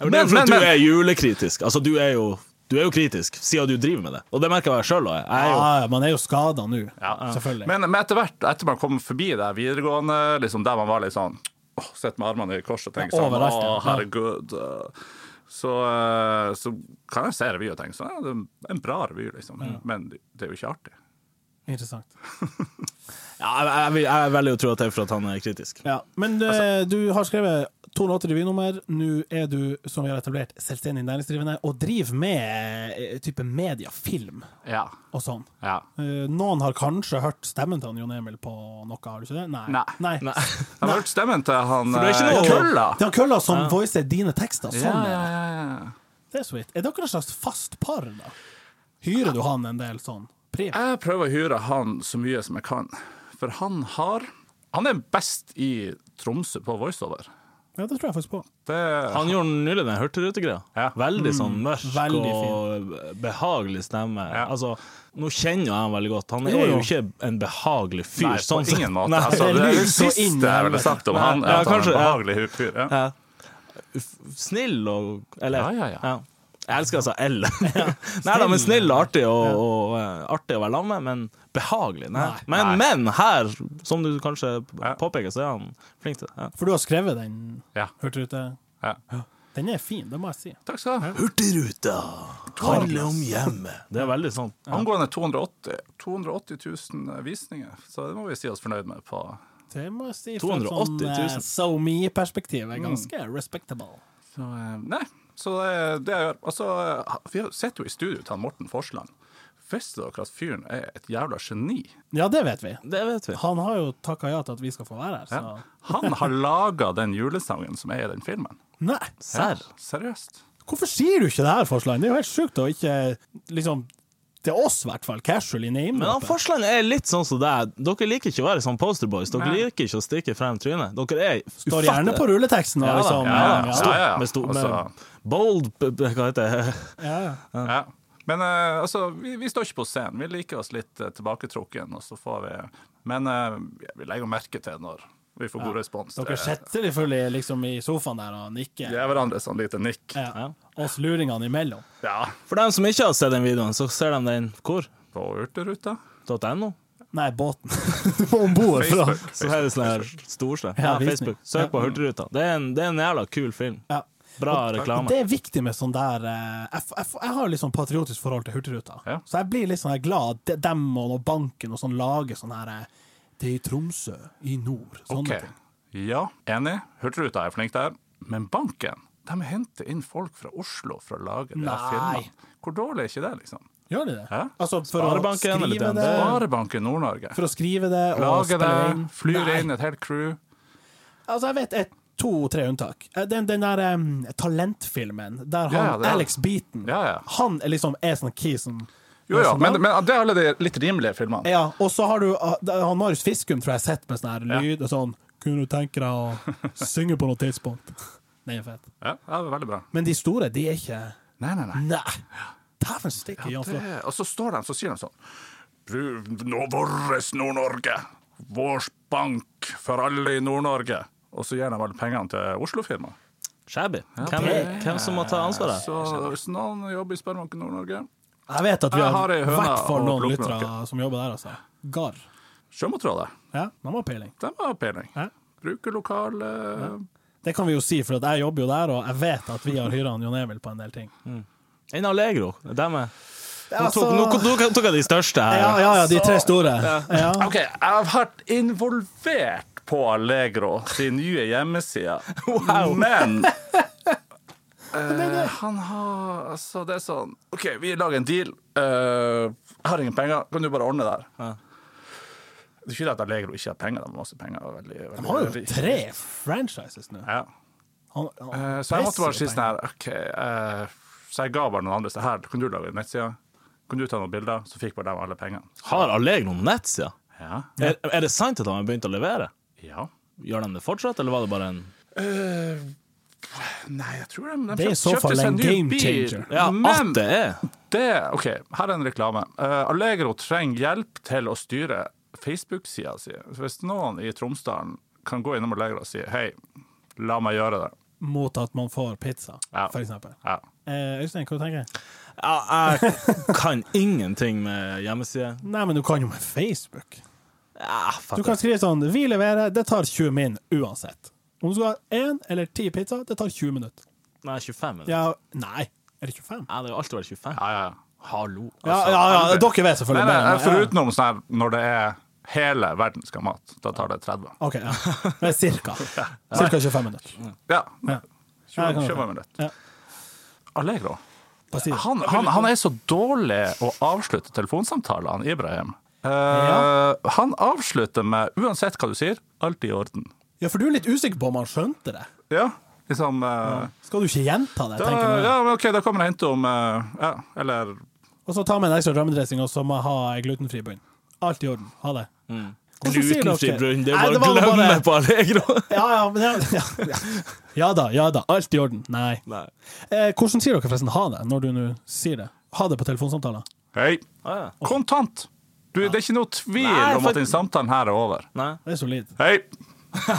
C: Men, det er fordi at du er julekritisk. Altså, du er jo du er jo kritisk, siden du driver med det. Og det merker jeg sjøl òg. Jeg er
B: Ah.
C: jo
A: Ja, man er jo skada nå, selvfølgelig.
B: Men, men etter hvert, etter man kom forbi det videregående, liksom der man var litt sånn åh, Sitter med armene i kors og tenker
A: Ja,
B: sånn
A: overalt,
B: Å,
A: ja. Ja.
B: herregud. eh, Så, eh, så kan jeg se revy og tenke sånn ja, det er en bra revy, liksom. Men det er jo ikke artig.
A: Interessant.
C: ja, jeg, jeg, vil- jeg velger å tro at det er for at han er kritisk.
A: Ja. Men eh, du har skrevet 280 revynummer. Nå er du, som vi har etablert, selvstendig næringsdrivende og driver med eh, type media, film
B: Ja.
A: og sånn.
B: ja.
A: Eh, Noen har kanskje hørt stemmen til han Jon Emil på noe, har du ikke det? Nei.
B: Nei.
A: Nei.
B: Jeg har hørt stemmen til han
C: det er ikke
B: eh,
C: noe-
B: Kølla.
A: Det er kølla som voicer dine tekster. Sånn
B: Ja,
A: er
B: ja,
A: det.
B: ja, ja.
A: Det er sweet. Er dere et slags fast par, da? Hyrer du han en del sånn? Priv?
B: Jeg prøver å hyre han så mye som jeg kan, for han har Han er best i Tromsø på voiceover.
A: Ja, det tror jeg faktisk på.
B: Det,
C: Han gjorde nylig den hurtigrutegreia.
B: Ja. Mm,
C: Veldig sånn mørk
A: veldig
C: og behagelig stemme.
B: Ja.
C: Altså, nå kjenner jo jeg han veldig godt. Han
A: Jo,
C: er
A: jo.
C: jo ikke en behagelig fyr.
B: Nei, på
C: sånn sett.
B: ingen måte.
C: Nei.
B: altså,
A: Det
B: det
A: er
B: er det
A: lurt så
B: siste
A: inn i
B: jeg ville
A: helvete.
B: sagt om
C: Nei,
B: han,
C: ja,
B: er at han er
C: kanskje,
B: en
C: ja.
B: behagelig hu- fyr. Ja.
C: Ja. F- Snill og Eller
B: Ja, ja, ja.
C: Jeg elsker altså L. Nei da, men snill og artig, og, og eh, artig å være sammen med, men behagelig. Nei. Men, men her, som du kanskje
B: Ja.
C: påpeker, så er han flink til det. Ja.
A: For du har skrevet den,
B: Ja.
A: hørte du det?
B: Ja.
A: Den er fin, det må jeg si.
B: Takk skal du ha.
C: Hurtigruta handler om hjemmet. Det er veldig sånn.
B: Angående 280, 280 000 eh, visninger, så det må vi si oss fornøyd med på
A: Det må jeg si.
C: 280 000.
A: So Me-perspektiv eh, er ganske respectable.
B: så, eh, Nei, så det, det jeg gjør Altså, eh, vi sitter jo i studio til han Morten Forsland. Visste dere at fyren er et jævla geni?
A: Ja, det vet vi.
C: Det vet vi.
A: Han har jo takka ja til at vi skal få være her, så
B: Ja. Han har laga den julesangen som er i den filmen.
A: Nei!
C: Serr.
B: Ja, seriøst.
A: Hvorfor sier du ikke det her, Forsland? Det er jo helt sjukt å ikke liksom Til oss, i hvert fall. Casually name.
C: Men han
A: droppe.
C: Forsland er litt sånn som deg. Dere liker ikke å være sånn posterboys. Dere
B: Nei.
C: liker ikke å stikke frem trynet. Dere er
A: Står gjerne på rulleteksten og
C: Ja da,
A: liksom
B: ja da.
A: ja,
C: Stor,
B: Ja, ja, ja.
C: Med stor,
B: Altså-
C: med bold b- b- Hva heter det?
A: ja, ja.
B: Ja. Men eh, altså, vi, vi står ikke på scenen. Vi liker oss litt eh, tilbaketrukken, og så får vi Men eh, vi legger jo merke til når vi får god respons.
A: Dere
B: Det-
A: sitter selvfølgelig liksom i sofaen der og nikker.
B: Vi er hverandre sånn lite nikk. Ja.
A: Ja. Oss luringene imellom.
C: For dem som ikke har sett den videoen, så ser de den hvor?
B: På Urteruta.
C: .no?
A: Nei, båten. du må om bord for å
B: Facebook.
C: Så er det sånn her storsle.
A: Ja,
C: Ja,
A: visning.
C: Facebook. Søk på Hurtigruta. Det er en, det er en jævla kul film.
A: ja.
C: Bra
A: Og
C: reklame.
A: Det er viktig med sånn der eh, Jeg, f- jeg, f- jeg har litt sånn patriotisk forhold til Hurtigruta.
B: Ja.
A: Så jeg blir litt sånn her glad at de- dem og når banken og sånn lager sånn her eh, Det er i Tromsø, i nord. Sånne
B: OK.
A: ting.
B: Ja, enig. Hurtigruta er flink der. Men banken de henter inn folk fra Oslo for å lage de her
A: Nei.
B: filmene. Hvor dårlig er ikke det, liksom?
A: Gjør de det?
B: Ja.
A: Altså, for å
C: Sparebanken eller
A: skrive
C: DNB?
A: det
B: Sparebanken Nord-Norge.
A: Eh. For å skrive det og
B: Lager det,
A: spille det inn.
B: flyr
A: Nei.
B: inn et helt crew.
A: Altså, jeg vet et, to-tre unntak. Eh, Den, den der em, talentfilmen der han
B: Ja, ja, det er-
A: Alex Beaton
B: Ja, ja.
A: Han er liksom er sånn key som
B: Jo, ja,
A: som
B: men,
A: band.
B: men det er alle de litt rimelige filmene.
A: Ja, og så har du ah, da- han Marius Fiskum, tror jeg, sett med sånn her lyd og sånn Kunne du tenke deg å synge på noe tidspunkt? Det er fett.
B: Ja, det er veldig bra.
A: Men de store, de er ikke
B: Nei, nei, nei.
A: Nei! Dæven stikke, Jan Flo.
B: Det, og så står de så sier de sånn «Bru- nå Våres Nord-Norge! Vårs bank for alle i Nord-Norge! Og så gir de alle pengene til Oslo-firmaet.
C: Shabby. Hvem, hvem som må ta ansvaret?
B: Så hvis noen jobber i Sparebanken Nord-Norge
A: Jeg vet at vi
B: Jeg
A: har
B: har ei høne
A: hvert fall
B: å
A: noen
B: plukke med
A: lyttere som jobber der, altså. Garr.
B: Sjømatrådet,
A: Ja, de har peiling.
B: de har peiling.
A: Ja.
B: Bruker lokale
A: Det kan vi jo si, for at jeg jobber jo der, og jeg vet at vi har hyra han Jon Emil på en del ting.
C: Enn Allegro. Dem er Nå
A: Altså-
C: tok, nå, nå tok jeg de største her.
A: Ja, ja, ja, de tre store. Ja.
B: OK, jeg har vært involvert på Allegro sin nye hjemmeside, men eh, han har Altså, det er sånn OK, vi lager en deal. Eh, jeg har ingen penger, kan du bare ordne det her? Det er ikke det at Allegro ikke har penger, de har masse penger. og er Veldig, veldig,
A: De har jo
B: rik.
A: tre franchises nå.
B: Ja.
A: Han-
B: Eh,
A: han-
B: Så jeg måtte bare si
A: presser jo
B: sånn her OK. eh, så jeg ga bare noen andre så her, kan du lage en nettside? Kan du ta noen bilder? Så fikk bare de alle pengene.
C: Har Allegro nettsider?
B: Ja.
C: Er, er det sant at de har begynt å levere?
B: ja.
C: Gjør de det fortsatt, eller var det bare en
B: Eh, nei, jeg tror de, de
A: Det er i så
B: kjøpte
A: fall
B: seg
A: en
B: ny
A: game
B: bil.
A: changer.
C: Ja,
B: men
C: at det er!
B: det- OK, her er en reklame. Eh, Allegro trenger hjelp til å styre Facebook-sida si. Så Hvis noen i Tromsdalen kan gå innom Allegro og si hei, la meg gjøre det.
A: penger Mot at man får pizza,
B: Ja.
A: for eksempel.
B: Ja.
A: Eh, Øystein, hva tenker du?
C: Ja, jeg kan ingenting med hjemmesider.
A: Nei, men du kan jo med Facebook.
C: Ja,
A: Du
C: fuck
A: kan
C: it.
A: skrive sånn 'Vi leverer, det tar 20 min uansett'. Om du skal ha én eller ti pizza, det tar 20 minutter.
C: Nei, 25 minutter. Ja.
A: Ja, nei, er det 25?
C: det har jo alltid vært 25.
B: Ja, ja, ja.
C: Hallo. altså.
A: Ja, ja, ja, dere vet selvfølgelig mer
B: Nei, nei,
A: enn meg. Ja.
B: Forutenom sånn her når det er hele verden skal ha mat. Da tar det 30.
A: OK, ja. Men cirka. Cirka 25
C: Mm.
A: minutter.
B: Ja.
A: Ja. Ja, jeg kan
B: 20
A: godt.
B: minutter.
A: Ja.
B: Allegro.
A: Hva sier du?
B: Han, han, han
A: sånn.
B: er så dårlig å avslutte telefonsamtaler, han Ibrahim. Eh,
A: Ja.
B: Han avslutter med 'uansett hva du sier, alt i orden'.
A: Ja, for du er litt usikker på om han skjønte det.
B: Ja, liksom eh,
A: Skal du ikke gjenta det?
B: da,
A: tenker du?
B: ja, men OK, da kommer jeg hente om eh, Ja, eller
A: Og så ta med en ekstra rammedressing, og så må jeg ha ei glutenfri bunn. Alt i orden. Ha det. Hvordan sier dere-
C: Mm. Glutenfri brønn, det
A: Nei,
C: er bare
A: var
C: å
A: jo
C: glemme
A: bare-
C: på Allegro.
A: Ja, ja, men ja, ja. ja da, ja da. Alt i orden. Nei.
C: Nei.
A: Eh, hvordan sier dere forresten ha det, når du nå sier det? Ha det på telefonsamtaler?
B: Hei,
C: Ah, ja.
B: kontant! Du, det er ikke noe tvil
C: Nei,
B: om
C: for-
B: at den samtalen her er over.
C: Nei,
A: Det er solid.
B: Hei!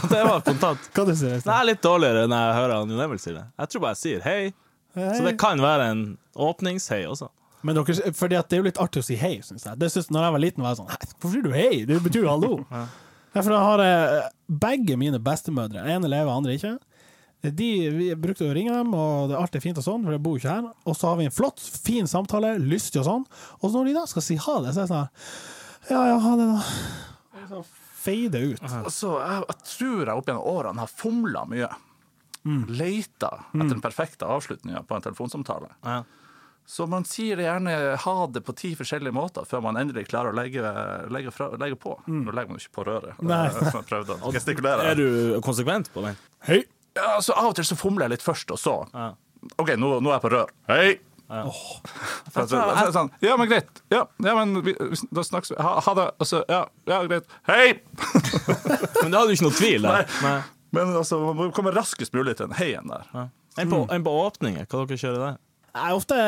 C: det var kontant.
A: Hva du sier
C: Det
A: Øystein?
C: er litt dårligere når jeg hører han Jon Emil si det. Jeg tror bare jeg sier hei.
A: Eh,
C: Så det kan være en åpningshei også.
A: Men dere, fordi at det er jo litt artig å si hei, syns jeg. Det synes, når jeg var liten, var jeg sånn «Hei, Hvorfor sier du hei? Det betyr jo hallo. Ja, for da har jeg eh, begge mine bestemødre, ene lever, andre ikke. De, vi brukte å ringe dem, og det er alltid fint og sånn, for jeg bor jo ikke her. Og så har vi en flott, fin samtale, lystig og sånn. Og så når de da skal si ha det, så er jeg sånn her, Ja, ja, ha det, da. Og Så feider det ut.
B: Altså, jeg, jeg tror jeg opp gjennom årene har fomla mye.
C: Mm.
B: Leita etter den perfekte avslutninga på en telefonsamtale.
C: Ja.
B: Så man sier gjerne ha det på ti forskjellige måter før man endelig klarer å legge, legge, fra, legge på. Nå legger man jo ikke på røret,
A: Nei.
B: Det er som jeg prøvde å gestikulere.
C: Mm. Er du konsekvent på den?
A: Hei!
B: Ja, så av og til så fomler jeg litt først, og så OK, nå, nå er jeg på rør. Hei! For at- for at- sånn, ja, men greit. Ja, ja men vi, da snakkes vi. Ha, ha det. Altså, ja, ja, greit. Hei!
C: Men da hadde du ikke noe tvil der. Nei.
B: Men altså, man må komme raskest mulig til en heien der.
C: Nei. En på, en på åpninger. Hva dere kjører der?
A: Jeg er ofte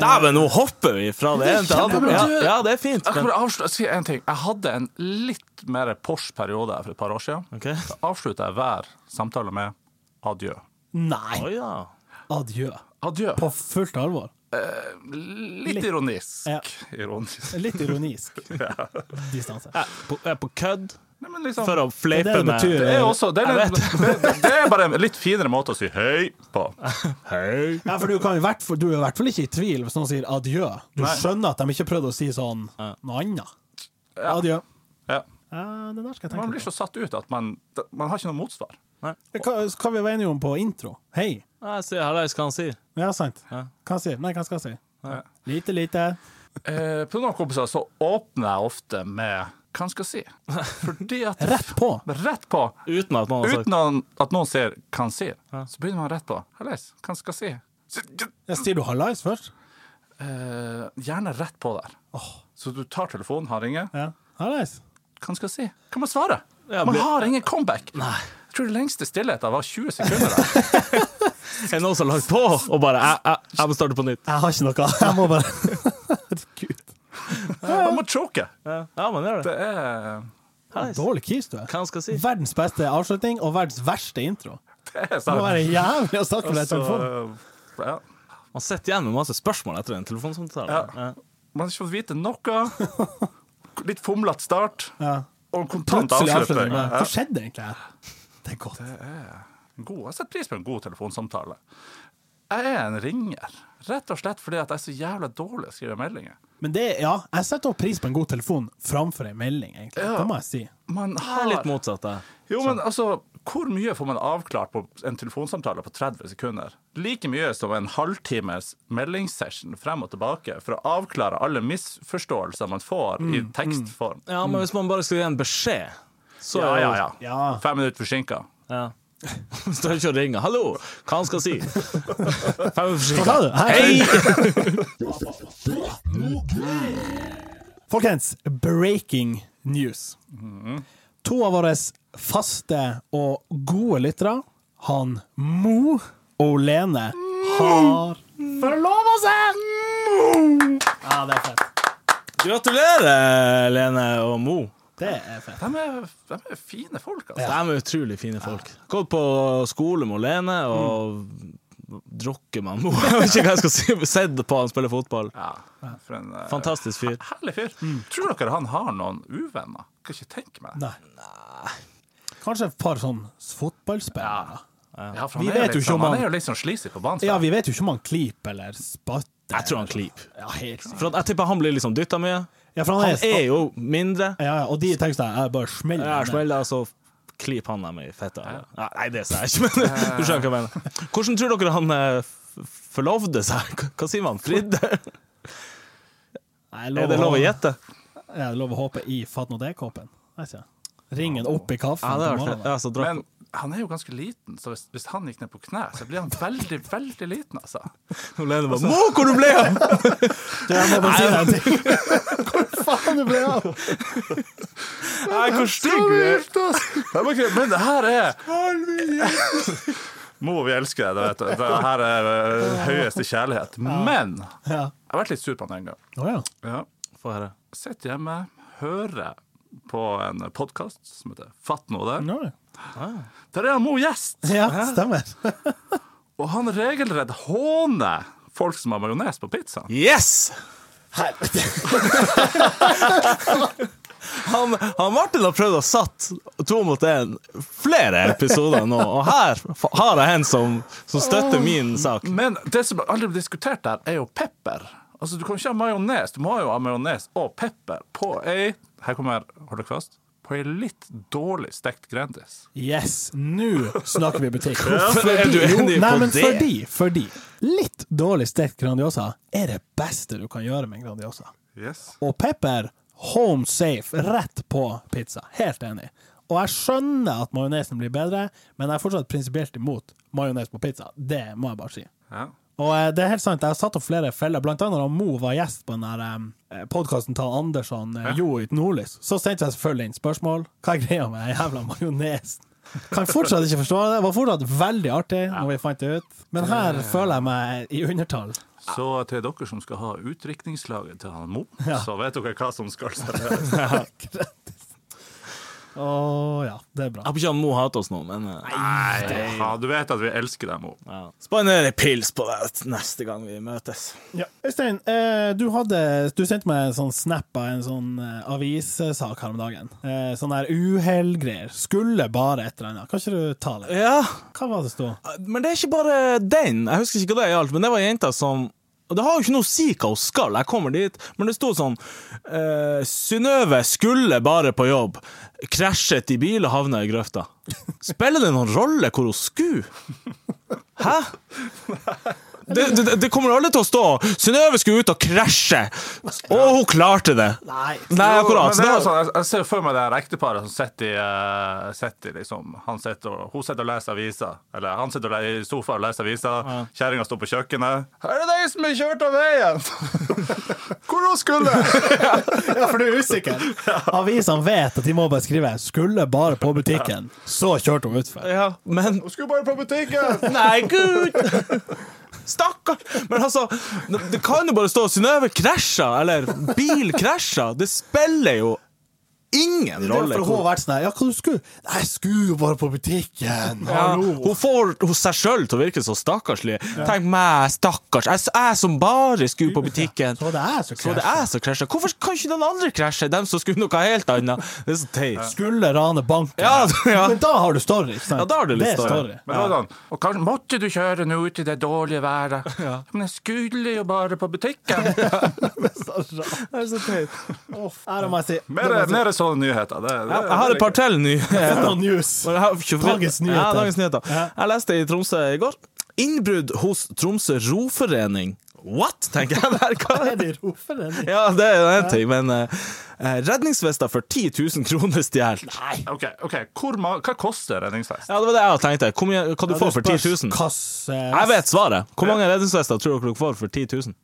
C: Dæven, nå hopper vi fra det ene til det andre. Ja, ja, det er fint.
B: Jeg kan
C: Men,
B: bare avslutte, si en ting. Jeg hadde en litt mer Porsche-periode for et par år siden.
C: Ok.
B: Da avslutta jeg hver samtale med adjø.
A: Nei.
C: Å ja.
A: Adjø.
B: Adjø.
A: På fullt alvor.
B: litt, ironisk.
A: Ja.
B: Ironisk.
A: Litt ironisk distanse.
C: Jeg er på, jeg er på kødd
B: Nei, men liksom,
C: for å
A: Det
C: fleipe
A: er det det
C: med
A: betyr.
B: det er også det er,
C: Jeg
B: litt, det, det er bare en litt finere måte å si hei på.
C: Hei.
A: Ja, for du, kan i hvert fall, du er i hvert fall ikke i tvil hvis noen sier adjø. Du
B: Nei.
A: skjønner at de ikke prøvde å si sånn noe annet. Adjø.
B: Ja.
A: Ja, det der skal jeg
B: Man
A: tenke
B: blir
A: på.
B: så satt ut at man, man har ikke noe motsvar.
A: Hva, hva vi var enige om på intro? Hei.
C: Jeg sier hallais, hva han sier.
A: Ja, sant. Hva jeg sier Nei, hva skal jeg si? Lite, lite.
B: Eh, på noen kompiser så åpner jeg ofte med hva han skal si. Fordi at
A: Rett på.
B: Rett på.
C: Uten at noen har sagt
B: Uten an- at noen ser hva han sier, så begynner man rett på. Hallais, hva han skal si? Så-
A: Jeg sier du hallais først?
B: eh, gjerne rett på der. Så du tar telefonen, han ringer.
A: Ja. Hallais.
B: Hva skal jeg si? Kan man svare?
C: Ja,
B: man
C: blir-
B: har ingen comeback. Jeg tror det lengste stillheten var 20 sekunder. der.
C: Er det noen som har lagt på og bare jeg, jeg, jeg må starte på nytt?
A: Jeg har ikke noe. Jeg må bare Herregud.
B: Man må choke.
C: Ja, man gjør det.
B: Det er,
C: Hva
A: Dårlig kis du er.
C: jeg skal si?
A: Verdens beste avslutning og verdens verste intro.
B: det er
A: Det må
B: sant.
A: være jævlig å snakke med deg i
B: Altså-
A: telefonen.
B: Så, ja.
C: Man sitter igjen med masse spørsmål etter en telefonsamtale.
B: Ja. Man har ikke fått vite noe. Litt fomlete start.
A: Ja.
B: Og en kontant
A: Plutselig
B: avslutning.
A: avslutning. men
B: Ja.
A: Hva skjedde egentlig her? Det er godt.
B: God. Jeg setter pris på en god telefonsamtale. Jeg er en ringer, rett og slett fordi at jeg er så jævla dårlig til å skrive meldinger.
A: Men det, ja, jeg setter også pris på en god telefon framfor en melding, egentlig. Det må jeg si.
B: Man
C: Jeg
B: har
C: er litt motsatt, jeg.
B: Jo, men altså, hvor mye får man avklart på en telefonsamtale på 30 sekunder? Like mye som en halvtimes meldingssession frem og tilbake for å avklare alle misforståelser man får
C: Mm,
B: i tekstform.
C: Ja, men hvis man bare skal gi en beskjed, så
B: Ja,
C: er
B: ja,
C: jo-
B: ja.
A: Ja.
B: Fem minutter forsinka.
C: Ja. Står ikke og ringer. 'Hallo, hva han skal si?' Fem
A: Hva sa du? Hei! Folkens, breaking news. To av våre faste og gode lyttere, han Mo og Lene, har forlova seg! Ja, det er fett.
C: Gratulerer, Lene og Mo.
A: Det er fett.
B: De er, de er fine folk, altså.
C: De er utrolig fine folk. Gått på skole med Lene og drukket med Mo. Jeg vet ikke hva jeg skal si. Sett på han spille fotball.
B: Ja. For en eh,
C: Fantastisk fyr.
B: herlig fyr.
C: Mm.
B: Tror dere han har noen uvenner? Kan ikke tenke meg det.
A: Nei. Kanskje et par sånn fotballspillere.
B: Ja, for
A: Vi
B: han, er
A: vet jo
B: litt
A: ikke om
B: sånn- han
A: han-
B: er jo litt sånn sleazy på banen.
A: Ja, vi vet jo ikke om han klyper eller spytter.
C: Jeg tror han klyper.
A: Ja, helt sikkert.
C: For at jeg tipper han blir liksom dytta mye.
A: Ja, for
C: Han er jo mindre.
A: Ja, ja, og de tekstene er bare smeller.
C: Ja,
A: ned.
C: smeller, så altså, klip han dem i fetta. Ja. Nei, det sa jeg ikke, men du skjønner hva jeg mener. Hvordan tror dere han eh, f- forlovde seg? Hva- Hva sier man? Fridde?
A: Nei, jeg
C: Er det lov å
A: håpe-
C: gjette?
A: Ja, det er lov å håpe i Fatt nå det-kåpen. Ringen opp i kaffen
C: Ja, det
A: på
C: har vært
A: morgenen.
C: ja, så drakk-
B: Men han er jo ganske liten, så hvis, hvis han gikk ned på kne, så blir han veldig, veldig liten, altså.
C: Hun Lene bare Mo, hvor du ble av?!
A: Du, jeg må bare si deg en ting. Hvor faen du ble av?
C: Nei, hvor stygg du er!
B: Jeg må ikke- Men det her er Mo, vi elsker deg, det vet du. Det her er eh, høyeste kjærlighet. Men jeg
A: Ja.
B: har vært litt sur på han en gang.
A: Å ja.
B: Ja.
C: Få høre.
B: Sitter hjemme, hører på en podkast som heter Fatt nå det.
A: Nå, ja.
B: Der er han Mo gjest!
A: Ja, stemmer.
B: Og han regelrett håner folk som har majones på pizzaen.
C: Yes! Han, han Martin har prøvd å satt to mot én flere episoder nå, og her fa- har jeg en som, som støtter min sak.
B: Men det som aldri blir diskutert der, er jo pepper. Altså, Du kan ikke ha majones. Du må jo ha majones og pepper på ei Her kommer Hold dere fast. På ei litt dårlig stekt Grandis.
A: Yes, nå snakker vi butikk.
C: Hvorfor er du
A: Jo,
C: enig
A: nei,
C: på
A: men
C: det?
A: fordi, fordi litt dårlig stekt Grandiosa er det beste du kan gjøre med Grandiosa.
B: Yes.
A: Og pepper, home safe, rett på pizza. Helt enig. Og jeg skjønner at majonesen blir bedre, men jeg er fortsatt prinsipielt imot majones på pizza. Det må jeg bare si.
B: Ja.
A: Og eh, det er helt sant, jeg har satt opp flere feller, blant annet da Mo var gjest på den der podkasten til Andersson eh, Jo uten nordlys, så sendte jeg selvfølgelig inn spørsmål. Hva er greia med den jævla majonesen? Kan fortsatt ikke forstå det. Det var fortsatt veldig artig når vi fant det ut, men her føler jeg meg i undertall.
B: Så til dere som skal ha utdrikningslaget til han Mo, så vet dere hva som skal serveres.
A: Å ja, det er bra.
C: Jeg håper ikke han Mo hater oss nå, men eh,
B: Nei, ja, du vet at vi elsker deg, Mo.
C: ja. Spandere pils på deg neste gang vi møtes.
A: Ja. Øystein, eh, du, hadde, du sendte meg en sånn snap av en sånn eh, avissak her om dagen. Eh, Sånn der uhellgreier. Skulle bare et eller annet. Kan ikke du ta det?
C: Ja,
A: Hva var det stod?
C: men det er ikke bare den. Jeg husker ikke hva det gjaldt, men det var jenta som og Det har jo ikke noe å si hva hun skal, jeg kommer dit, men det sto sånn eh, Synnøve skulle bare på jobb, krasjet i bil og havna i grøfta. Spiller det noen rolle hvor hun skulle? Hæ? Det, det, det kommer alle til å stå. Synnøve skulle ut og krasje, og hun klarte det.
A: Nei.
C: Nei, akkurat.
B: Men det er jo
C: Så da-
B: sånn, jeg, jeg ser for meg det her ekteparet som sitter i, eh, sitter i liksom, han sitter og, Hun sitter og leser aviser. Eller han sitter og le- i sofaen og leser aviser. Kjerringa står på kjøkkenet. 'Her er det ei som er kjørt av veien!' Hvor hun skulle!
A: Ja, for du er usikker. Avisene vet at de må bare skrive 'skulle bare på butikken', så kjørte hun
B: sånn.
A: utfor.
C: Ja, men
B: Hun skulle bare på butikken!
C: Nei, gud! Stakkar! Men altså, det, det kan jo bare stå 'Synnøve krasja', eller 'bil krasja'. Det spiller jo ingen rolle.
A: Derfor hun har vært sånn her, Ja, hva du skulle Nei, jeg skulle bare på butikken.
C: Ja,
A: Hallo.
C: hun får hun seg sjøl til å virke så stakkarslig. Tenk meg, stakkars. Jeg, jeg som bare skulle på butikken.
A: Så det er så
C: Så det
A: krasj.
C: er jeg som krasja. Hvorfor kan ikke den andre krasje? Dem som skulle noe helt annet. Det er så teit.
A: Skulle rane banken.
C: Ja, ja.
A: Men da har du story. ikke sant?
C: Ja, da har du litt
A: det er
C: story.
A: story.
B: Men det var sånn, og kanskje måtte du kjøre nå ut i det dårlige været? Men jeg skulle jo bare på butikken!
C: Det er så teit.
A: Her må jeg si
B: Mer, mer sånne nyheter. Det, det,
C: altså- Jeg har et par til nyheter.
A: Mer news.
C: Og jeg har ikke for-
A: Dagens nyheter.
C: Ja, dagens nyheter.
A: Ja.
C: Jeg leste i Tromsø i går. Innbrudd hos Tromsø roforening. What?! tenker jeg der. Hva
A: Er det rofer, eller?
C: Ja, det er jo én ting, men eh, eh, redningsvester for 10 000 kroner stjålet.
B: OK, ok, Hvor, ma- hva koster redningsvest?
C: Ja, det var det jeg tenkte. Hvor mye kan du få for 10 000?
A: Kasse
C: Jeg vet svaret. Hvor mange redningsvester tror dere dere får for 10 000?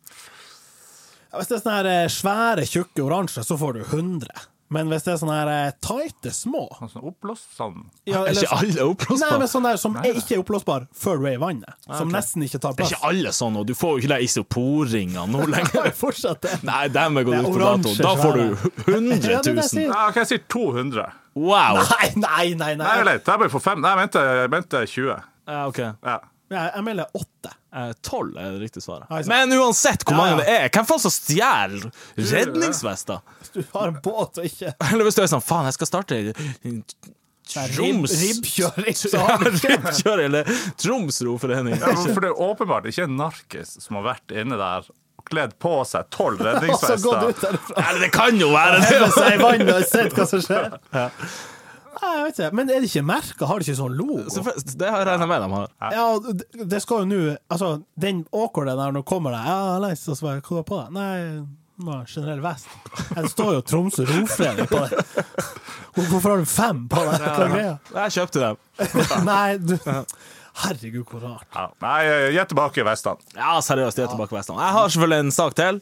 A: Hvis det er sånne her eh, svære, tjukke oransje, så får du 100. Men hvis det er sånne her eh, tighte, små
B: Sånn oppblåst sånn?
A: ja,
C: Er
A: eller
C: ikke alle
A: Nei, men
C: oppblåsbare?
A: sånn der som er ikke er oppblåsbar før du er i vannet. Som nesten ikke tar
C: Ah, Er
A: plass.
C: ikke alle sånn, og du får jo ikke de isoporringene nå lenger.
A: Fortsatt det.
C: Nei, dem er gått
A: Det er
C: ut på dato.
A: oransje
C: Da får du
A: Ja,
C: 100
A: det er det jeg
C: 000.
A: sier.
B: Ja, OK, jeg sier 200.
C: Wow!
A: Nei, nei, nei. nei.
B: Nei,
A: Jeg,
B: litt. Jeg ble for fem. Nei, jeg mente, jeg mente 20.
C: Ja, ok.
B: Ja.
A: jeg melder åtte.
C: Eh, Tolv er det riktige svaret.
A: Nei, sant.
C: Men uansett hvor
A: Ja,
C: mange
A: ja.
C: det er, hvem faen som stjeler redningsvester?
A: Hvis du har en båt og ikke
C: Eller hvis du er sånn faen, jeg skal starte i- i
A: ribb-
C: Troms
A: ribbkjøring, så
C: Ja,
A: har du ikke
C: ribbkjøring, eller Troms roforening.
B: Ja, men For det er åpenbart ikke en narkis som har vært inne der og kledd på seg tolv
A: Og så gått ut
B: redningsvester.
A: derfra.
C: Eller det kan jo være det!
A: Hevet seg i vannet og sett hva som skjer. Nei, jeg vet ikke. Men er det ikke merka? Har det ikke sånn logo?
C: Selvfølgelig, Det har jeg regna med de har.
A: Ja, og d- det skal jo nå Altså, den awkwarde der når du kommer deg Ja, leis, og så bare, hva var på deg? Nei, nå har jeg generell vest. Det står jo Tromsø Roforening på deg. Hvor- Hvorfor har du fem på deg? Hva er greia?
C: Jeg kjøpte dem.
A: Nei, du Herregud, hvor rart.
B: Ja. Nei, eh, gi tilbake vestene.
C: Ja, seriøst, de er tilbake på Vestland. Jeg har selvfølgelig en sak til.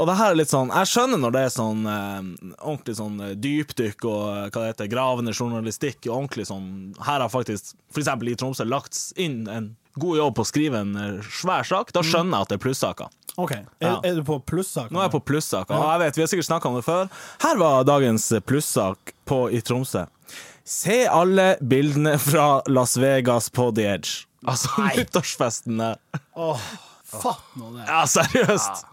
C: Og det her er litt sånn Jeg skjønner når det er sånn eh, ordentlig sånn eh, dypdykk og eh, hva det heter, gravende journalistikk. og Ordentlig sånn Her har faktisk f.eks. i Tromsø lagt inn en god jobb på å skrive en eh, svær sak. Da skjønner jeg at det er plussaker.
A: OK, er, er du på plussak?
C: Nå er jeg på plussaker. Og jeg vet, vi har sikkert snakka om det før. Her var dagens plussak på i Tromsø. Se alle bildene fra Las Vegas på The Edge. Altså nyttårsfestene.
A: Åh, fatt nå det.
C: Ja, seriøst.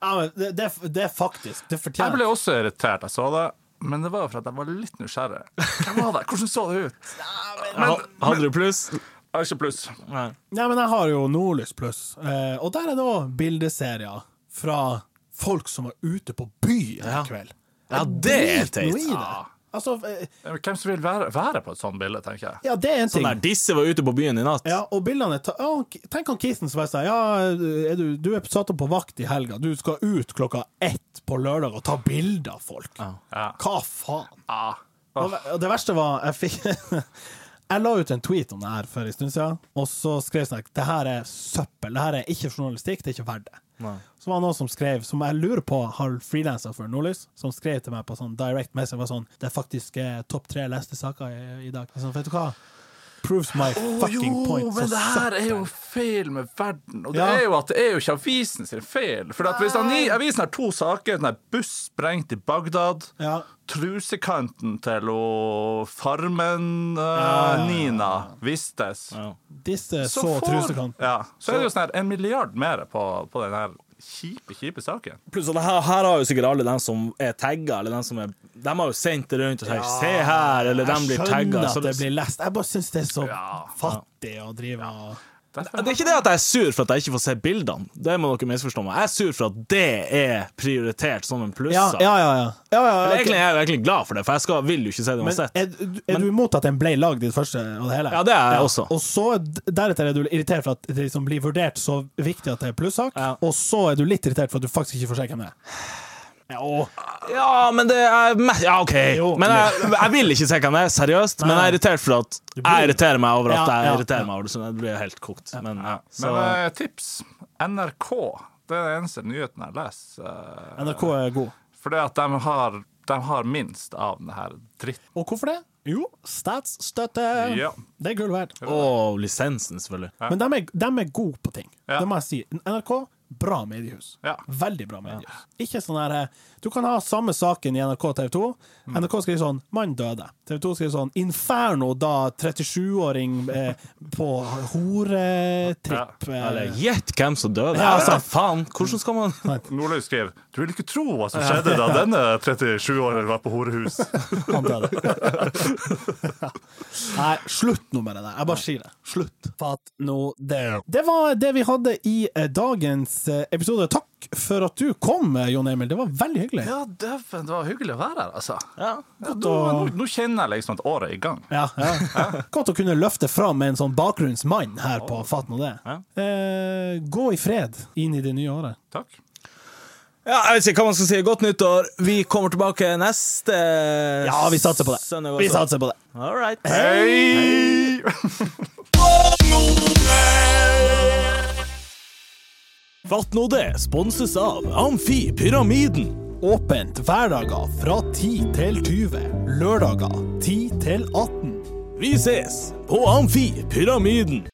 A: Ja, men det, det, er- det er faktisk Det
B: Jeg ble
A: fortjener
B: også irritert, jeg så det. Men det var for at jeg var litt nysgjerrig. Hvem var det? Hvordan så det ut?
C: Ha- Hadde du pluss?
B: Jeg har ikke pluss.
A: Nei, men jeg har jo Nordlys pluss, eh, og der er det òg bildeserier fra folk som var ute på byen en kveld.
C: Ja, det er Ah.
A: Drit noe
C: teit.
A: i det. Altså, eh,
B: Hvem som vil være, være på et sånt bilde, tenker jeg.
A: ja, det er en ting.
C: Nei, disse var ute på byen i natt.
A: Ja, og bildene er ta ja, K- Tenk han Kisen som bare sier ja, eh, er du, du er satt opp på vakt i helga, du skal ut klokka ett på lørdag og ta bilder av folk.
B: Ja.
A: Hva faen?
B: Ah.
A: Og ve- og det verste var Jeg fikk Jeg la ut en tweet om det her for en stund siden, og så skrev jeg sånn at det her er søppel, det her er ikke journalistikk, det er ikke verdt det. Så var det noen som skrev, som jeg lurer på har frilansa for Nordlys, som skrev til meg på sånn direct message var sånn Det er faktisk eh, topp tre leste saker i, i dag. Sånn, vet du hva? Proves my fucking point.
B: men
A: så
B: det
A: søppel.
B: her er jo feil med verden. Og det
A: Ja.
B: er jo at det er jo ikke avisen sin feil. For at hvis han, i- avisen har to saker, den er buss sprengt i Bagdad,
A: Ja.
B: trusekanten til å
A: ja, ja.
B: Farmen-Nina vistes,
A: Disse så,
B: får-
A: trusekant.
B: Ja, så er det jo sånn her en milliard mer på, på den her kjipe, kjipe saken.
C: Pluss at her, her har jo sikkert alle dem som er tagga, eller dem som er De har jo sendt det rundt og sagt 'se her', eller de
A: Jeg
C: blir
A: skjønner
C: tagga.
A: at det blir lest. Jeg bare syns det er så
B: Ja.
A: fattig å drive og
B: Derfor.
C: Det er ikke det at jeg er sur for at jeg ikke får se bildene. Det må dere misforstå meg. Jeg er sur for at det er prioritert som en
A: Ja,
C: plussak.
A: ja, ja. ja. ja, ja,
C: Men
A: ok.
C: Egentlig er jeg jo egentlig glad for det, for jeg skal, vil jo ikke se det
A: Men
C: uansett.
A: er, du- er du imot at den ble lagd i det første og det hele?
C: Ja, det er jeg også.
A: Og så er d- deretter er du irritert for at det liksom blir vurdert så viktig at det er plussak,
C: Ja.
A: og så er du litt irritert for at du faktisk ikke får se hvem det er. Ja, og,
C: Ja, men det er me- Ja, OK.
A: Jo.
C: Men jeg, jeg vil ikke se hva det er, seriøst. Men jeg er irritert for at jeg irriterer meg over at
A: Ja, ja,
C: jeg irriterer meg over det. Så det blir helt kokt. Men, ja. så,
B: Men eh, tips. NRK. Det er den eneste nyheten jeg leser. eh,
A: NRK er god.
B: Fordi at de har, de har minst av den her dritten.
A: Og hvorfor det? Jo, statsstøtte.
B: Ja.
A: Det er gull verdt.
C: og lisensen, selvfølgelig.
A: Men de er, de er gode på ting.
B: Ja.
A: Det må jeg si. NRK, bra mediehus.
B: Ja.
A: Veldig bra mediehus. Ikke sånn her eh, Du kan ha samme saken i NRK og TV 2.
B: Mm.
A: NRK skriver sånn 'Mann døde'. TV 2 skriver sånn 'Inferno da 37-åring eh, på horetripp'.
C: Eller
A: Eh,
C: gjett hvem som døde.
A: Ja.
C: altså, faen, hvordan skal man
B: Nordlys skriver Du vil ikke tro hva som skjedde da denne 37-åringen var på horehus.
A: han døde. Nei, slutt nå med det der. Jeg bare sier det. Slutt. Fatt nå det. Det var det vi hadde i eh, dagens eh, episode. Takk for at du kom, eh, Jon Emil. Det var veldig hyggelig.
B: Ja, dæven, det var hyggelig å være her, altså.
C: ja.
B: Ja, nå, nå, nå kjenner jeg liksom at året er i gang.
A: Ja, ja. Godt å kunne løfte fram en sånn bakgrunnsmann her på Fatt nå det. Eh, gå i fred inn i det nye året.
B: Takk.
C: ja, jeg vet ikke hva man skal si. Godt nyttår. Vi kommer tilbake neste
A: Ja, vi satser på det.
C: søndag
A: Vi
C: også.
A: satser på det.
C: All right.
B: Hei!
C: Fatt nå det sponses av Amfi Pyramiden.
A: Åpent hverdager fra 10 til 20. Lørdager 10 til 18.
C: Vi ses på Amfi Pyramiden.